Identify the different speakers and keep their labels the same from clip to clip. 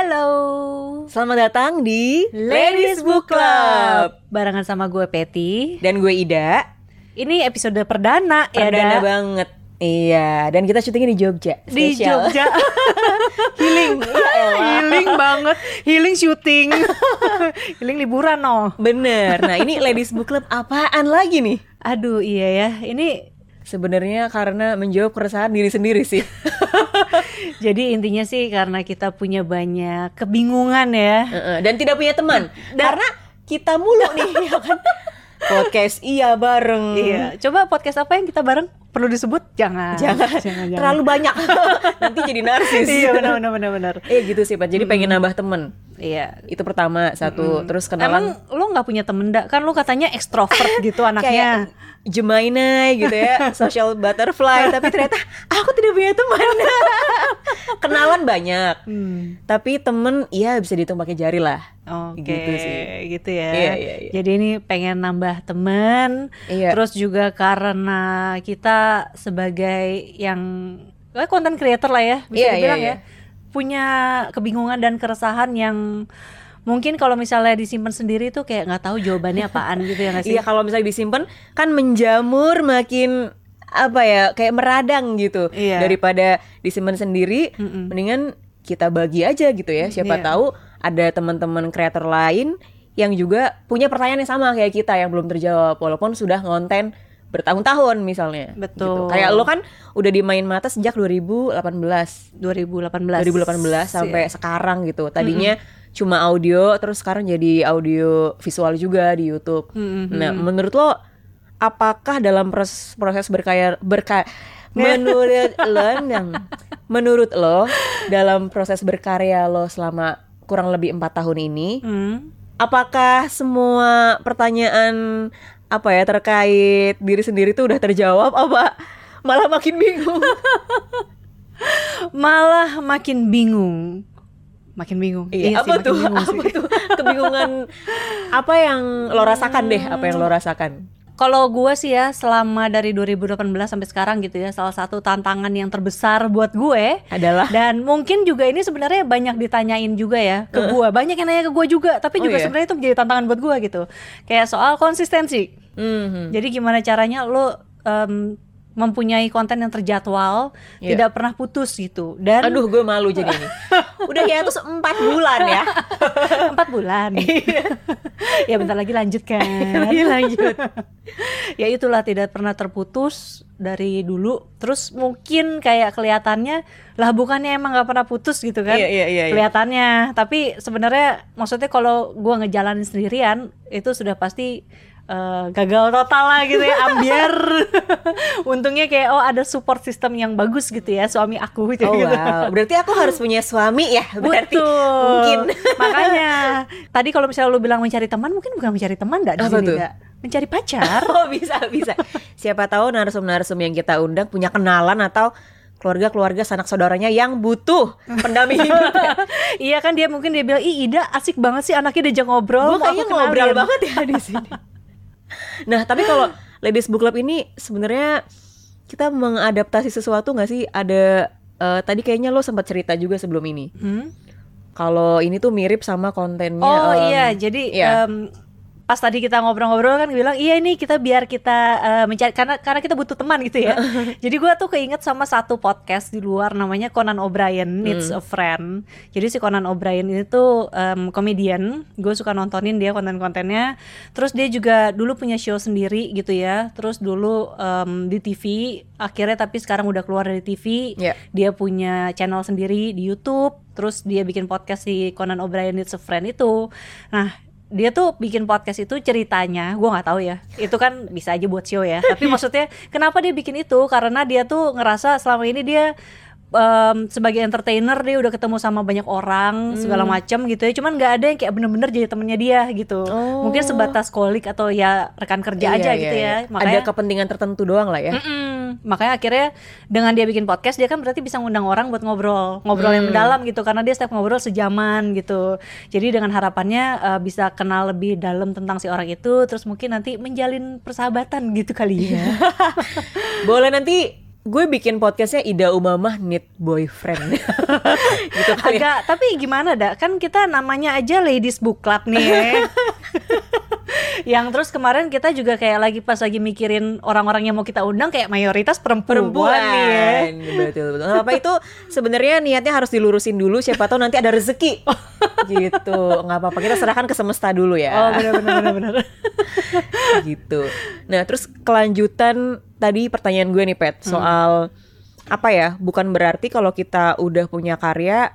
Speaker 1: Hello
Speaker 2: Selamat datang di
Speaker 1: Ladies Book Club.
Speaker 2: Barengan sama gue Peti
Speaker 1: Dan gue Ida
Speaker 2: Ini episode perdana, ya
Speaker 1: Perdana
Speaker 2: Da?
Speaker 1: banget Iya Dan kita syutingnya di Jogja
Speaker 2: Di
Speaker 1: Spesial.
Speaker 2: Jogja
Speaker 1: Healing Ya elah.
Speaker 2: Healing banget Healing syuting Healing liburan no
Speaker 1: Bener Nah ini Ladies Book Club apaan lagi nih?
Speaker 2: Aduh iya ya Ini
Speaker 1: Sebenarnya karena menjawab keresahan diri sendiri sih
Speaker 2: jadi intinya sih karena kita punya banyak kebingungan ya
Speaker 1: Heeh, Dan tidak punya teman Karena kita mulu nih ya kan? Podcast iya bareng
Speaker 2: Iya, coba podcast apa yang kita bareng perlu disebut? Jangan.
Speaker 1: Jangan, Terlalu banyak Nanti jadi narsis
Speaker 2: Iya, benar benar benar benar.
Speaker 1: Eh gitu sih Pat Jadi pengen nambah temen
Speaker 2: Iya.
Speaker 1: Itu pertama satu Terus kenalan
Speaker 2: Emang lo nggak punya temen dak? Kan lo katanya ekstrovert gitu
Speaker 1: kayak
Speaker 2: anaknya.
Speaker 1: Jemaine gitu ya social butterfly tapi ternyata aku tidak punya teman kenalan banyak
Speaker 2: Hmm.
Speaker 1: tapi temen ya bisa dihitung pakai jari lah
Speaker 2: Oke,
Speaker 1: Gitu
Speaker 2: gitu,
Speaker 1: sih.
Speaker 2: ya.
Speaker 1: Iya, iya, iya.
Speaker 2: Jadi ini pengen nambah temen.
Speaker 1: Iya.
Speaker 2: Terus juga karena kita sebagai yang eh, content creator lah ya, bisa
Speaker 1: Iya, iya,
Speaker 2: dibilang
Speaker 1: iya.
Speaker 2: ya, punya kebingungan dan keresahan yang mungkin kalau misalnya disimpan sendiri tuh kayak nggak tahu jawabannya apaan gitu ya nggak sih?
Speaker 1: iya kalau misalnya disimpan kan menjamur makin apa ya kayak meradang gitu
Speaker 2: Iya.
Speaker 1: daripada disimpan sendiri
Speaker 2: Mm-mm.
Speaker 1: mendingan kita bagi aja gitu ya
Speaker 2: Iya.
Speaker 1: siapa tahu ada teman-teman kreator lain yang juga punya pertanyaan yang sama kayak kita yang belum terjawab walaupun sudah ngonten bertahun-tahun misalnya Gitu.
Speaker 2: Betul.
Speaker 1: kayak lo kan udah dimain mata sejak 2018
Speaker 2: 2018. Iya.
Speaker 1: 2018 sampai sekarang gitu tadinya cuma audio terus sekarang jadi audio visual juga di YouTube
Speaker 2: Mm-mm.
Speaker 1: nah menurut lo apakah dalam proses proses berkaya berka menurut lo nang- menurut lo dalam proses berkarya lo selama kurang lebih empat tahun ini
Speaker 2: Hmm.
Speaker 1: apakah semua pertanyaan apa ya terkait diri sendiri tuh udah terjawab apa malah makin bingung
Speaker 2: Malah makin bingung. Makin bingung.
Speaker 1: iya,
Speaker 2: sih,
Speaker 1: apa
Speaker 2: makin
Speaker 1: tuh
Speaker 2: bingung sih.
Speaker 1: apa tuh kebingungan apa yang lo rasakan deh apa yang lo
Speaker 2: Hmm.
Speaker 1: rasakan
Speaker 2: Kalau gue sih ya selama dari 2018 sampai sekarang gitu ya salah satu tantangan yang terbesar buat gue
Speaker 1: adalah
Speaker 2: dan mungkin juga ini sebenarnya banyak ditanyain juga ya ke gue banyak yang nanya ke gue juga tapi
Speaker 1: Oh,
Speaker 2: juga
Speaker 1: iya?
Speaker 2: sebenarnya itu menjadi tantangan buat gue gitu kayak soal konsistensi
Speaker 1: Mhm.
Speaker 2: jadi gimana caranya lo em, mempunyai konten yang terjadwal
Speaker 1: Iya.
Speaker 2: tidak pernah putus gitu dan
Speaker 1: aduh gue malu jadi ini udah ya terus empat bulan ya
Speaker 2: Kan? empat bulan ya bentar lagi lanjut kan
Speaker 1: Iya, lanjut
Speaker 2: ya itulah tidak pernah terputus dari dulu terus mungkin kayak kelihatannya lah bukannya emang nggak pernah putus gitu kan
Speaker 1: Iya, iya, iya, iya.
Speaker 2: kelihatannya tapi sebenarnya maksudnya kalau gua ngejalanin sendirian itu sudah pasti eh, gagal total lah gitu ya ambiar untungnya kayak oh ada support system yang bagus gitu ya suami aku gitu,
Speaker 1: oh
Speaker 2: gitu.
Speaker 1: wow berarti aku harus punya suami ya berarti
Speaker 2: Betul.
Speaker 1: mungkin
Speaker 2: Makanya tadi kalau misalnya lu bilang mencari teman, mungkin bukan mencari teman enggak di
Speaker 1: Apa
Speaker 2: sini,
Speaker 1: tuh?
Speaker 2: Nggak? Mencari pacar.
Speaker 1: Oh bisa bisa. Siapa tahu narsum-narsum yang kita undang punya kenalan atau keluarga-keluarga sanak saudaranya yang butuh pendampingan.
Speaker 2: iya kan dia mungkin dia bilang, "Ih, Ida asik banget sih anaknya diajak ngobrol." mau
Speaker 1: Gue
Speaker 2: aku
Speaker 1: kayaknya ngobrol
Speaker 2: kenalin."
Speaker 1: banget ya di sini. Nah tapi kalau Ladies Book Club ini sebenarnya kita mengadaptasi sesuatu nggak sih? Ada eh, tadi kayaknya lo sempat cerita juga sebelum ini.
Speaker 2: Hmm?
Speaker 1: Kalau ini tuh mirip sama kontennya.
Speaker 2: Oh
Speaker 1: em,
Speaker 2: iya, jadi
Speaker 1: iya.
Speaker 2: em, pas tadi kita ngobrol-ngobrol kan gue bilang iya ini kita biar kita eh, mencari karena karena kita butuh teman gitu ya. jadi gue tuh keinget sama satu podcast di luar namanya Conan O'Brien
Speaker 1: Hmm.
Speaker 2: Needs a Friend. Jadi si Conan O'Brien ini tuh em, komedian, gue suka nontonin dia konten-kontennya. Terus dia juga dulu punya show sendiri gitu ya. Terus dulu em, di TV, akhirnya tapi sekarang udah keluar dari TV
Speaker 1: Iya.
Speaker 2: dia punya channel sendiri di YouTube terus dia bikin podcast si Conan O'Brien It's a Friend itu nah dia tuh bikin podcast itu ceritanya gua nggak tahu ya itu kan bisa aja buat show ya tapi maksudnya kenapa dia bikin itu karena dia tuh ngerasa selama ini dia em, sebagai entertainer dia udah ketemu sama banyak orang
Speaker 1: Hmm.
Speaker 2: segala macam gitu ya cuman nggak ada yang kayak bener-bener jadi temennya dia gitu
Speaker 1: Oh.
Speaker 2: mungkin sebatas kolik atau ya rekan kerja aja
Speaker 1: iya,
Speaker 2: gitu
Speaker 1: iya.
Speaker 2: ya makanya
Speaker 1: Ada kepentingan tertentu doang lah ya.
Speaker 2: Mm-mm. Makanya akhirnya dengan dia bikin podcast dia kan berarti bisa ngundang orang buat ngobrol, ngobrol yang mendalam gitu karena dia setiap ngobrol sejaman gitu. Jadi dengan harapannya eh, bisa kenal lebih dalam tentang si orang Iya. itu, terus mungkin nanti menjalin persahabatan gitu kali ya.
Speaker 1: Boleh nanti gue bikin podcastnya Ida Umamah Need Boyfriend gitu kali ya.
Speaker 2: Agak, tapi gimana dah? Kan kita namanya aja Ladies Book Club nih. ya. yang terus kemarin kita juga kayak lagi pas lagi mikirin orang-orang yang mau kita undang kayak mayoritas perempuan, nih ya.
Speaker 1: perempuan betul betul apa itu sebenarnya niatnya harus dilurusin dulu siapa tahu nanti ada rezeki gitu nggak apa-apa kita serahkan ke semesta dulu ya
Speaker 2: Oh benar benar benar benar.
Speaker 1: gitu. Nah, terus kelanjutan tadi pertanyaan gue nih Pet soal apa ya? Bukan berarti kalau kita udah punya karya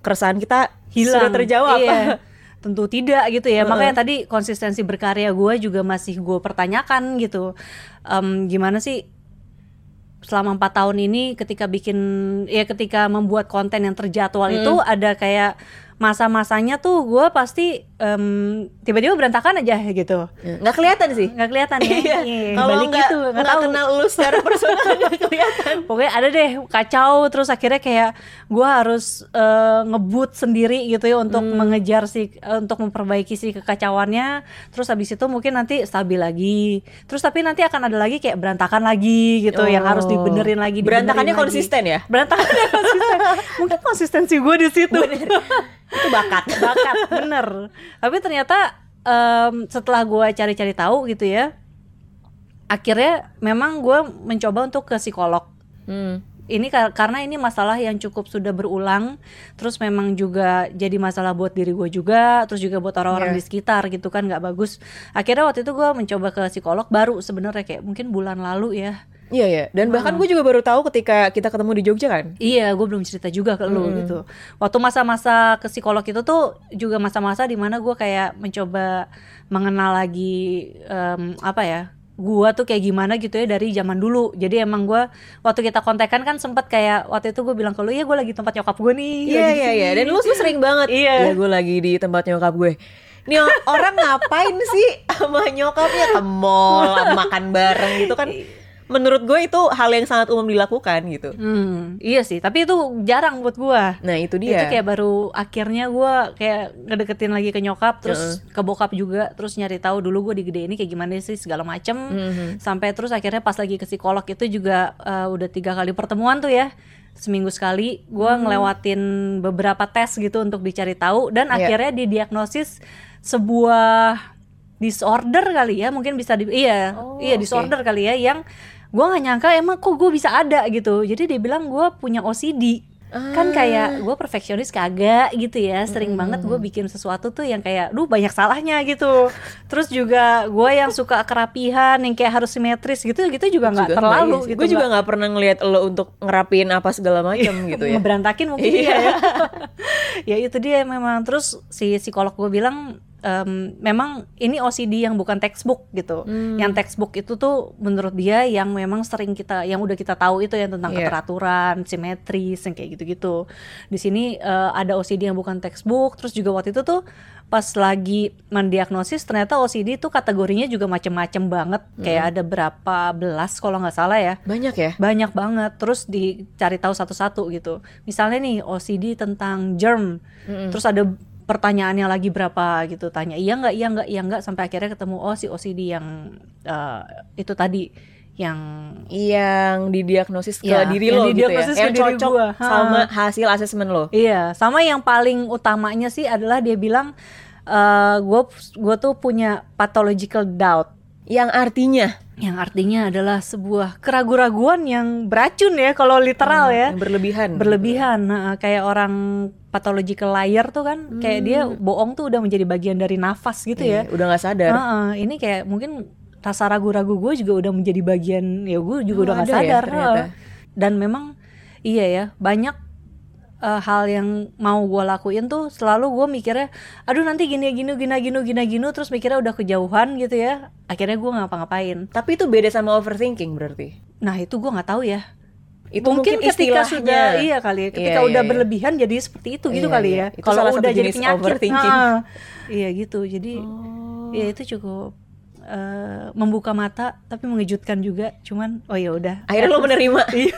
Speaker 1: keresahan kita
Speaker 2: Hilang.
Speaker 1: sudah terjawab.
Speaker 2: Iya. Tentu tidak gitu ya. Makanya tadi konsistensi berkarya gue juga masih gue pertanyakan gitu. Em, gimana sih selama empat tahun ini ketika bikin ya ketika membuat konten yang terjadwal itu ada kayak masa-masanya tuh gue pasti em, tiba-tiba berantakan aja gitu
Speaker 1: Nggak kelihatan sih.
Speaker 2: nggak kelihatan ya Iya,
Speaker 1: Kalau
Speaker 2: balik
Speaker 1: nggak
Speaker 2: gitu nggak
Speaker 1: nggak
Speaker 2: tahu
Speaker 1: kenal lu secara personal nggak kelihatan.
Speaker 2: pokoknya ada deh kacau terus akhirnya kayak gue harus eh, ngebut sendiri gitu ya untuk mengejar si eh, untuk memperbaiki si kekacauannya terus habis itu mungkin nanti stabil lagi terus tapi nanti akan ada lagi kayak berantakan lagi gitu yang harus
Speaker 1: Oh.
Speaker 2: dibenerin lagi dibenerin
Speaker 1: Berantakannya
Speaker 2: lagi.
Speaker 1: konsisten ya?
Speaker 2: berantakannya konsisten mungkin konsistensi gue di situ
Speaker 1: Itu bakat.
Speaker 2: bakat bener tapi ternyata em, setelah gue cari-cari tahu gitu ya akhirnya memang gue mencoba untuk ke psikolog
Speaker 1: Hmm.
Speaker 2: ini kar- karena ini masalah yang cukup sudah berulang terus memang juga jadi masalah buat diri gue juga terus juga buat orang-orang
Speaker 1: Iya.
Speaker 2: di sekitar gitu kan nggak bagus akhirnya waktu itu gue mencoba ke psikolog baru sebenarnya kayak mungkin bulan lalu ya
Speaker 1: Iya ya. Dan bahkan gue juga baru tahu ketika kita ketemu di Jogja kan.
Speaker 2: Iya, gue belum cerita juga ke
Speaker 1: Hmm.
Speaker 2: lu gitu. Waktu masa-masa ke psikolog itu tuh juga masa-masa dimana gue kayak mencoba mengenal lagi em, apa ya? Gua tuh kayak gimana gitu ya dari zaman dulu. Jadi emang gua waktu kita kontekan kan sempat kayak waktu itu gue bilang ke lu, iya gue lagi tempat nyokap gue nih. lagi di
Speaker 1: Iya iya
Speaker 2: sini."
Speaker 1: iya. Dan lu tuh sering banget.
Speaker 2: Iya.
Speaker 1: Ya gue lagi di tempat nyokap gue. Nih orang ngapain sih sama nyokapnya ke mall, makan bareng gitu kan? Menurut gue itu hal yang sangat umum dilakukan gitu.
Speaker 2: Hmm, iya sih. Tapi itu jarang buat gua.
Speaker 1: Nah itu dia.
Speaker 2: Itu kayak baru akhirnya gua kayak ngedeketin lagi ke nyokap, terus ke bokap juga, terus nyari tahu dulu gue di gede ini kayak gimana sih segala macem. Sampai terus akhirnya pas lagi ke psikolog itu juga eh, udah tiga kali pertemuan tuh ya, seminggu sekali. gua ngelewatin beberapa tes gitu untuk dicari tahu dan
Speaker 1: Iya.
Speaker 2: akhirnya didiagnosis sebuah disorder kali ya, mungkin bisa di iya
Speaker 1: Oh,
Speaker 2: iya
Speaker 1: oke.
Speaker 2: disorder kali ya yang gua nggak nyangka emang kok gue bisa ada gitu. Jadi dia bilang gua punya OCD
Speaker 1: Ah.
Speaker 2: kan kayak gue perfeksionis kagak gitu ya sering banget gue bikin sesuatu tuh yang kayak duh banyak salahnya gitu terus juga gue yang suka kerapihan yang kayak harus simetris gitu gitu juga nggak terlalu gitu Iya.
Speaker 1: Gue juga nggak pernah ngelihat lo untuk ngerapiin apa segala macam gitu ya.
Speaker 2: ngeberantakin mungkin
Speaker 1: Iya.
Speaker 2: iya ya. ya itu dia memang terus si psikolog gue bilang em, memang ini OCD yang bukan textbook gitu
Speaker 1: Hmm.
Speaker 2: yang textbook itu tuh menurut dia yang memang sering kita yang udah kita tahu itu yang tentang
Speaker 1: Iya.
Speaker 2: keteraturan simetris yang kayak gitu-gitu di sini eh, ada OCD yang bukan textbook terus juga waktu itu tuh pas lagi mendiagnosis ternyata OCD itu kategorinya juga macem-macem banget
Speaker 1: Hmm.
Speaker 2: kayak ada berapa belas kalau nggak salah ya
Speaker 1: Banyak ya.
Speaker 2: banyak banget terus dicari tahu satu-satu gitu misalnya nih OCD tentang germ terus ada pertanyaannya lagi berapa gitu tanya iya nggak iya nggak iya nggak sampai akhirnya ketemu oh si OCD yang eh, itu tadi yang
Speaker 1: Yang didiagnosis ke
Speaker 2: Iya,
Speaker 1: diri
Speaker 2: yang
Speaker 1: lo gitu ya.
Speaker 2: didiagnosis ke
Speaker 1: Yang
Speaker 2: diri
Speaker 1: cocok
Speaker 2: gua. Ha.
Speaker 1: sama hasil asesmen lo.
Speaker 2: iya sama yang paling utamanya sih adalah dia bilang gue gue tuh punya pathological doubt
Speaker 1: Yang artinya
Speaker 2: yang artinya adalah sebuah keraguan-raguan yang beracun ya kalau literal ya
Speaker 1: yang berlebihan.
Speaker 2: berlebihan nah, kayak orang pathological liar tuh kan kayak dia bohong tuh udah menjadi bagian dari nafas gitu ya
Speaker 1: Hmm. Iya, udah nggak sadar.
Speaker 2: Heeh, ini kayak mungkin rasa ragu-ragu gue juga udah menjadi bagian ya gue juga
Speaker 1: Oh,
Speaker 2: udah nggak
Speaker 1: ada ya
Speaker 2: sadar
Speaker 1: ternyata.
Speaker 2: heeh. dan memang iya ya banyak eh, hal yang mau gue lakuin tuh selalu gue mikirnya aduh nanti gini gini gini gini gini gini terus mikirnya udah kejauhan gitu ya akhirnya gue ngapa-ngapain
Speaker 1: Tapi itu beda sama overthinking berarti.
Speaker 2: nah itu gue nggak tahu ya
Speaker 1: Itu
Speaker 2: mungkin, ketika
Speaker 1: istilahnya.
Speaker 2: sudah iya kali ya, ketika
Speaker 1: Iya,
Speaker 2: udah
Speaker 1: iya, iya.
Speaker 2: berlebihan jadi seperti itu gitu
Speaker 1: Iya,
Speaker 2: kali
Speaker 1: iya.
Speaker 2: ya
Speaker 1: Itu
Speaker 2: kalau
Speaker 1: salah satu
Speaker 2: udah jadi
Speaker 1: jenis
Speaker 2: penyakit
Speaker 1: overthinking. Oh.
Speaker 2: nah, iya gitu jadi ya itu cukup eh, membuka mata tapi mengejutkan juga cuman oh ya udah
Speaker 1: Akhirnya lo menerima.
Speaker 2: Iya.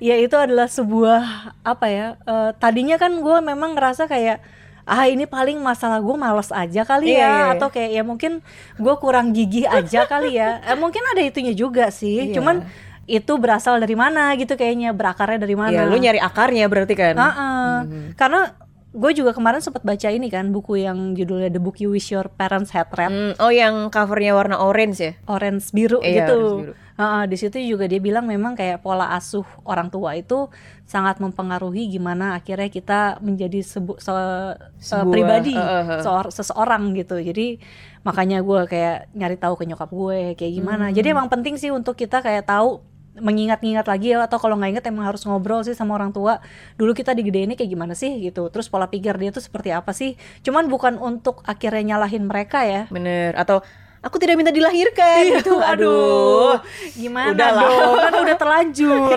Speaker 2: ya itu adalah sebuah apa ya eh, tadinya kan gue memang ngerasa kayak ah ini paling masalah gue males aja kali
Speaker 1: Iya,
Speaker 2: ya
Speaker 1: iya, iya.
Speaker 2: atau kayak ya mungkin gue kurang gigih aja kali ya Eh, mungkin ada itunya juga sih
Speaker 1: Iya.
Speaker 2: cuman itu berasal dari mana gitu kayaknya berakarnya dari mana.
Speaker 1: Iya, lu nyari akarnya berarti kan.
Speaker 2: Heeh.
Speaker 1: Hmm.
Speaker 2: Karena gue juga kemarin sempat baca ini kan buku yang judulnya The Book You Wish Your Parents Had Read.
Speaker 1: Hmm, oh yang covernya warna orange ya?
Speaker 2: orange biru
Speaker 1: Iya,
Speaker 2: gitu.
Speaker 1: orange biru.
Speaker 2: Heeh, di situ juga dia bilang memang kayak pola asuh orang tua itu sangat mempengaruhi gimana akhirnya kita menjadi sebu- se- eh,
Speaker 1: Sebuah,
Speaker 2: pribadi
Speaker 1: eh, eh, eh.
Speaker 2: seor- seseorang gitu. Jadi makanya gue kayak nyari tahu ke nyokap gue kayak
Speaker 1: Hmm.
Speaker 2: gimana. Jadi emang penting sih untuk kita kayak tahu mengingat-ingat lagi ya atau kalau nggak ingat emang harus ngobrol sih sama orang tua dulu kita digedeinnya kayak gimana sih gitu terus pola pikir dia tuh seperti apa sih cuman bukan untuk akhirnya nyalahin mereka ya
Speaker 1: Bener. Atau aku tidak minta dilahirkan gitu.
Speaker 2: Iya, aduh,
Speaker 1: Aduh. Iya.
Speaker 2: gimana
Speaker 1: udahlah.
Speaker 2: dong? Kan udah terlanjur.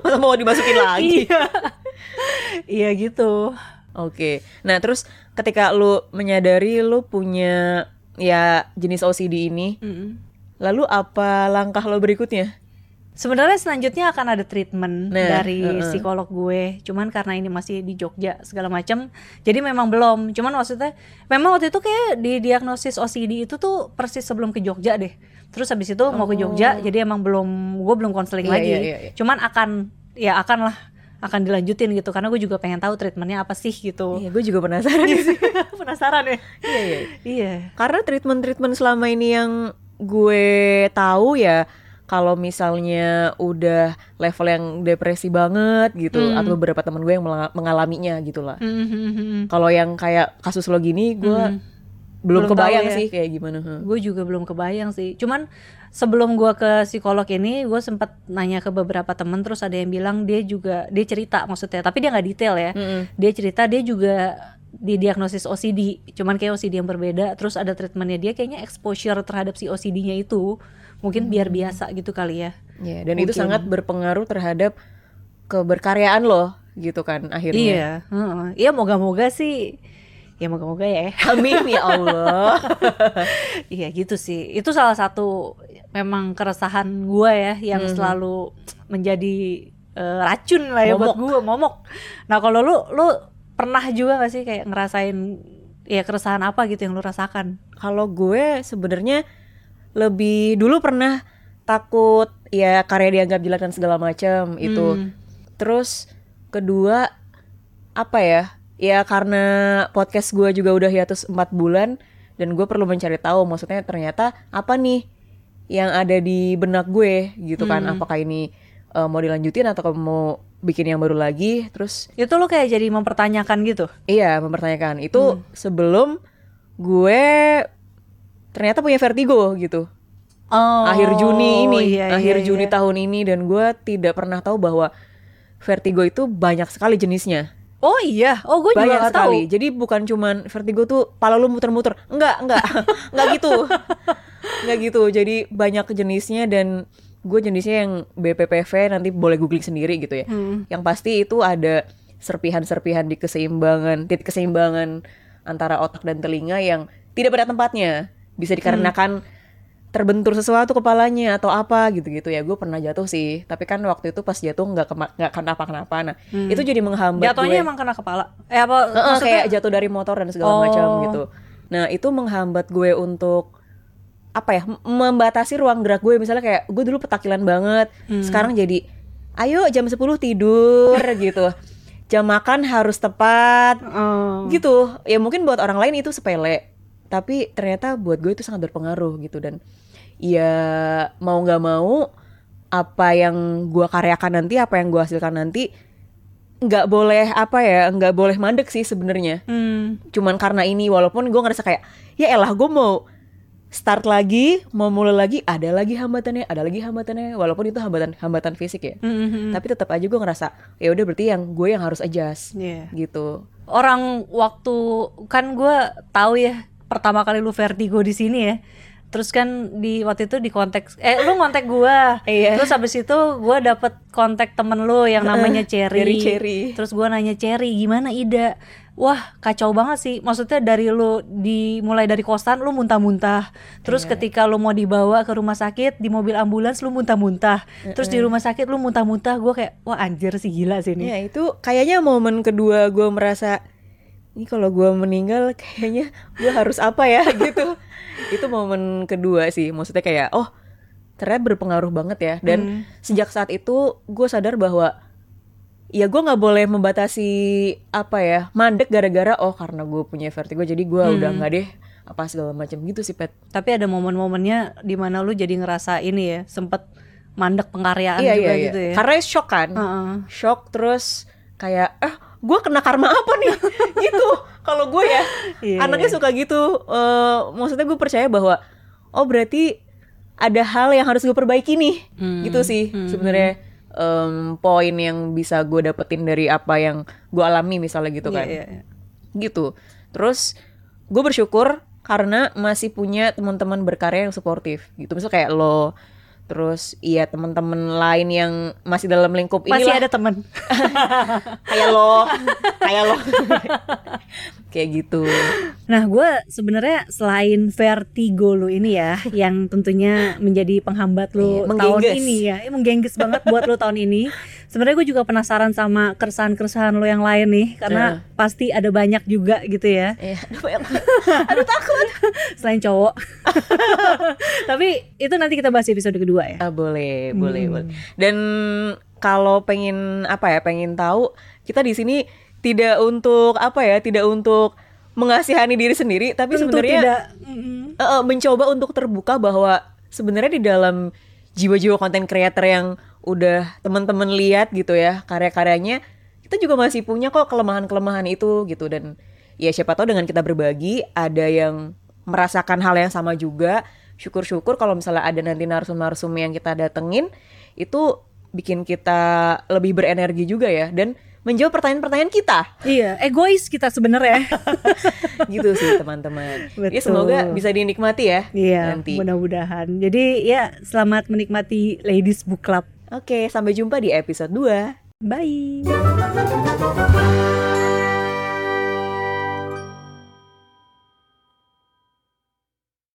Speaker 1: Masa mau dimasukin lagi?
Speaker 2: iya. Iya gitu.
Speaker 1: Oke. Nah, terus ketika lu menyadari lu punya ya jenis OCD ini, lalu apa langkah lo berikutnya?
Speaker 2: Sebenarnya selanjutnya akan ada treatment
Speaker 1: Nah,
Speaker 2: dari
Speaker 1: uh-uh.
Speaker 2: psikolog gue. Cuman karena ini masih di Jogja segala macam, jadi memang belum. Cuman maksudnya memang waktu itu kayak di diagnosis OCD itu tuh persis sebelum ke Jogja deh. Terus habis itu mau ke Jogja, jadi emang belum gue belum konseling
Speaker 1: Oh. Iya,
Speaker 2: lagi.
Speaker 1: iya, iya, iya.
Speaker 2: Cuman akan ya akan lah akan dilanjutin gitu karena gue juga pengen tahu treatmentnya apa sih gitu.
Speaker 1: Iya, gue juga penasaran sih.
Speaker 2: Penasaran ya?
Speaker 1: Iya, iya.
Speaker 2: Iya.
Speaker 1: Karena treatment-treatment selama ini yang gue tahu ya kalau misalnya udah level yang depresi banget gitu
Speaker 2: Hmm.
Speaker 1: atau beberapa temen gue yang mela- mengalaminya gitu lah.
Speaker 2: Mm-hmm.
Speaker 1: Kalau yang kayak kasus lo gini gue Hmm. belum,
Speaker 2: Belum
Speaker 1: kebayang
Speaker 2: tahu ya.
Speaker 1: sih kayak gimana. Heeh.
Speaker 2: Gue juga belum kebayang sih. Cuman sebelum gua ke psikolog ini, gue sempet nanya ke beberapa temen. Terus ada yang bilang dia juga dia cerita maksudnya, tapi dia nggak detail ya.
Speaker 1: Mm-mm.
Speaker 2: Dia cerita dia juga didiagnosis OCD, cuman kayak OCD yang berbeda. Terus ada treatmentnya dia kayaknya exposure terhadap si OCD-nya itu mungkin biar biasa gitu kali ya.
Speaker 1: Ya, dan itu
Speaker 2: Mungkin.
Speaker 1: sangat berpengaruh terhadap keberkaryaan lo gitu kan akhirnya.
Speaker 2: Iya, heeh. iya moga-moga sih, ya moga-moga ya.
Speaker 1: Amin ya Allah.
Speaker 2: Iya gitu sih. Itu salah satu memang keresahan gua ya yang
Speaker 1: Mhm.
Speaker 2: selalu menjadi eh, racun lah ya buat
Speaker 1: Momok.
Speaker 2: gua momok. Nah kalau lu lu pernah juga gak sih kayak ngerasain ya keresahan apa gitu yang lu rasakan?
Speaker 1: Kalau gue sebenarnya lebih dulu pernah takut ya karya dianggap jelek dan segala macam itu.
Speaker 2: Hmm.
Speaker 1: Terus kedua apa ya? Ya karena podcast gue juga udah hiatus 4 bulan dan gue perlu mencari tahu maksudnya ternyata apa nih yang ada di benak gue gitu kan apakah ini eh, mau dilanjutin atau mau bikin yang baru lagi terus
Speaker 2: Itu lu kayak jadi mempertanyakan gitu.
Speaker 1: iya mempertanyakan
Speaker 2: Hmm.
Speaker 1: itu sebelum gue ternyata punya vertigo gitu
Speaker 2: Oh,
Speaker 1: akhir Juni ini,
Speaker 2: iya,
Speaker 1: akhir
Speaker 2: iya,
Speaker 1: Juni
Speaker 2: iya.
Speaker 1: tahun ini dan gue tidak pernah tahu bahwa vertigo itu banyak sekali jenisnya.
Speaker 2: Oh iya, oh gue juga
Speaker 1: banyak
Speaker 2: gak tahu.
Speaker 1: sekali. Jadi bukan cuman vertigo tuh pala lu muter-muter. Enggak, enggak. enggak gitu. Enggak gitu. Jadi banyak jenisnya dan gue jenisnya yang BPPV nanti boleh googling sendiri gitu ya. Yang pasti itu ada serpihan-serpihan di keseimbangan, titik keseimbangan antara otak dan telinga yang tidak pada tempatnya. Bisa dikarenakan terbentur sesuatu kepalanya atau apa gitu-gitu ya. Gue pernah jatuh sih, tapi kan waktu itu pas jatuh nggak kema- nggak kenapa-kenapa. Nah, itu jadi menghambat
Speaker 2: Jatuhnya
Speaker 1: gue.
Speaker 2: emang kena kepala. Eh apa
Speaker 1: Heeh,
Speaker 2: maksudnya?
Speaker 1: kayak jatuh dari motor dan segala
Speaker 2: Oh.
Speaker 1: macam gitu. Nah, itu menghambat gue untuk apa ya? m- membatasi ruang gerak gue misalnya kayak gue dulu petakilan banget,
Speaker 2: Hmm.
Speaker 1: sekarang jadi ayo jam 10 tidur gitu. Jam makan harus tepat
Speaker 2: Oh.
Speaker 1: gitu. Ya mungkin buat orang lain itu sepele, tapi ternyata buat gue itu sangat berpengaruh gitu dan ya mau nggak mau apa yang gue karyakan nanti, apa yang gue hasilkan nanti nggak boleh apa ya, nggak boleh mandek sih sebenarnya.
Speaker 2: Hmm.
Speaker 1: Cuman karena ini walaupun gue ngerasa kayak ya elah gue mau start lagi, mau mulai lagi, ada lagi hambatannya, ada lagi hambatannya, walaupun itu hambatan hambatan fisik ya.
Speaker 2: Hmm, hmm, hmm.
Speaker 1: Tapi tetap aja gue ngerasa ya udah berarti yang gue yang harus adjust
Speaker 2: Iya.
Speaker 1: gitu.
Speaker 2: orang waktu kan gue tahu ya pertama kali lu vertigo di sini ya terus kan di waktu itu di konteks eh lu kontak gue
Speaker 1: Iya.
Speaker 2: terus habis itu gue dapet kontak temen lu yang namanya Cherry
Speaker 1: dari Cherry.
Speaker 2: terus gue nanya Cherry gimana Ida wah kacau banget sih maksudnya dari lu dimulai dari kosan lu muntah-muntah terus
Speaker 1: Iya.
Speaker 2: ketika lu mau dibawa ke rumah sakit di mobil ambulans lu muntah-muntah terus di rumah sakit lu muntah-muntah gue kayak wah anjir sih gila sih ini
Speaker 1: Ya itu kayaknya momen kedua gue merasa ini kalau gue meninggal kayaknya gue harus apa ya gitu. itu momen kedua sih, maksudnya kayak oh ternyata berpengaruh banget ya dan sejak saat itu gue sadar bahwa ya gue nggak boleh membatasi apa ya mandek gara-gara oh karena gue punya vertigo jadi gue udah nggak deh apa segala macam gitu sih pet
Speaker 2: Tapi ada momen-momennya di mana lu jadi ngerasa ini ya, sempet mandek pengkaryaan
Speaker 1: iya
Speaker 2: juga
Speaker 1: iya iya
Speaker 2: gitu ya.
Speaker 1: karena shock kan
Speaker 2: Heeh.
Speaker 1: shock terus kayak eh gue kena karma apa nih gitu kalau gue ya
Speaker 2: Iya,
Speaker 1: anaknya suka gitu Eh, maksudnya gue percaya bahwa oh berarti ada hal yang harus gue perbaiki nih
Speaker 2: Hmm,
Speaker 1: gitu sih sebenarnya em, poin yang bisa gue dapetin dari apa yang gue alami misalnya gitu
Speaker 2: Iya,
Speaker 1: kan
Speaker 2: iya, iya.
Speaker 1: gitu terus gue bersyukur karena masih punya teman-teman berkarya yang suportif gitu misal kayak lo terus iya teman-teman lain yang masih dalam lingkup
Speaker 2: Masih
Speaker 1: inilah
Speaker 2: ada temen.
Speaker 1: kayak lo kayak lo kayak gitu
Speaker 2: Nah, gue sebenarnya selain vertigo lu ini ya, yang tentunya menjadi penghambat lu
Speaker 1: Iya,
Speaker 2: tahun
Speaker 1: menggengges.
Speaker 2: ini ya, eh, menggengges banget buat lu tahun ini. Sebenarnya gue juga penasaran sama keresahan-keresahan lu yang lain nih, karena pasti ada banyak juga gitu ya.
Speaker 1: Iya.
Speaker 2: selain cowok. Tapi itu nanti kita bahas di episode kedua ya.
Speaker 1: Ah, boleh boleh
Speaker 2: Hmm.
Speaker 1: boleh dan kalau pengen apa ya pengen tahu kita di sini tidak untuk apa ya tidak untuk mengasihani diri sendiri tapi
Speaker 2: Tentu
Speaker 1: sebenarnya
Speaker 2: tidak. Mm-mm.
Speaker 1: Eh, eh, mencoba untuk terbuka bahwa sebenarnya di dalam jiwa-jiwa konten creator yang udah teman-teman lihat gitu ya karya-karyanya kita juga masih punya kok kelemahan-kelemahan itu gitu dan ya siapa tahu dengan kita berbagi ada yang merasakan hal yang sama juga syukur-syukur kalau misalnya ada nanti narsum-narsum yang kita datengin itu bikin kita lebih berenergi juga ya dan menjawab pertanyaan-pertanyaan kita
Speaker 2: Iya, egois kita sebenarnya.
Speaker 1: gitu sih teman-teman. Jadi semoga
Speaker 2: Betul.
Speaker 1: bisa dinikmati ya
Speaker 2: Iya,
Speaker 1: nanti.
Speaker 2: mudah-mudahan. Jadi ya selamat menikmati Ladies Book Club.
Speaker 1: Oke, sampai jumpa di episode 2.
Speaker 2: Bye.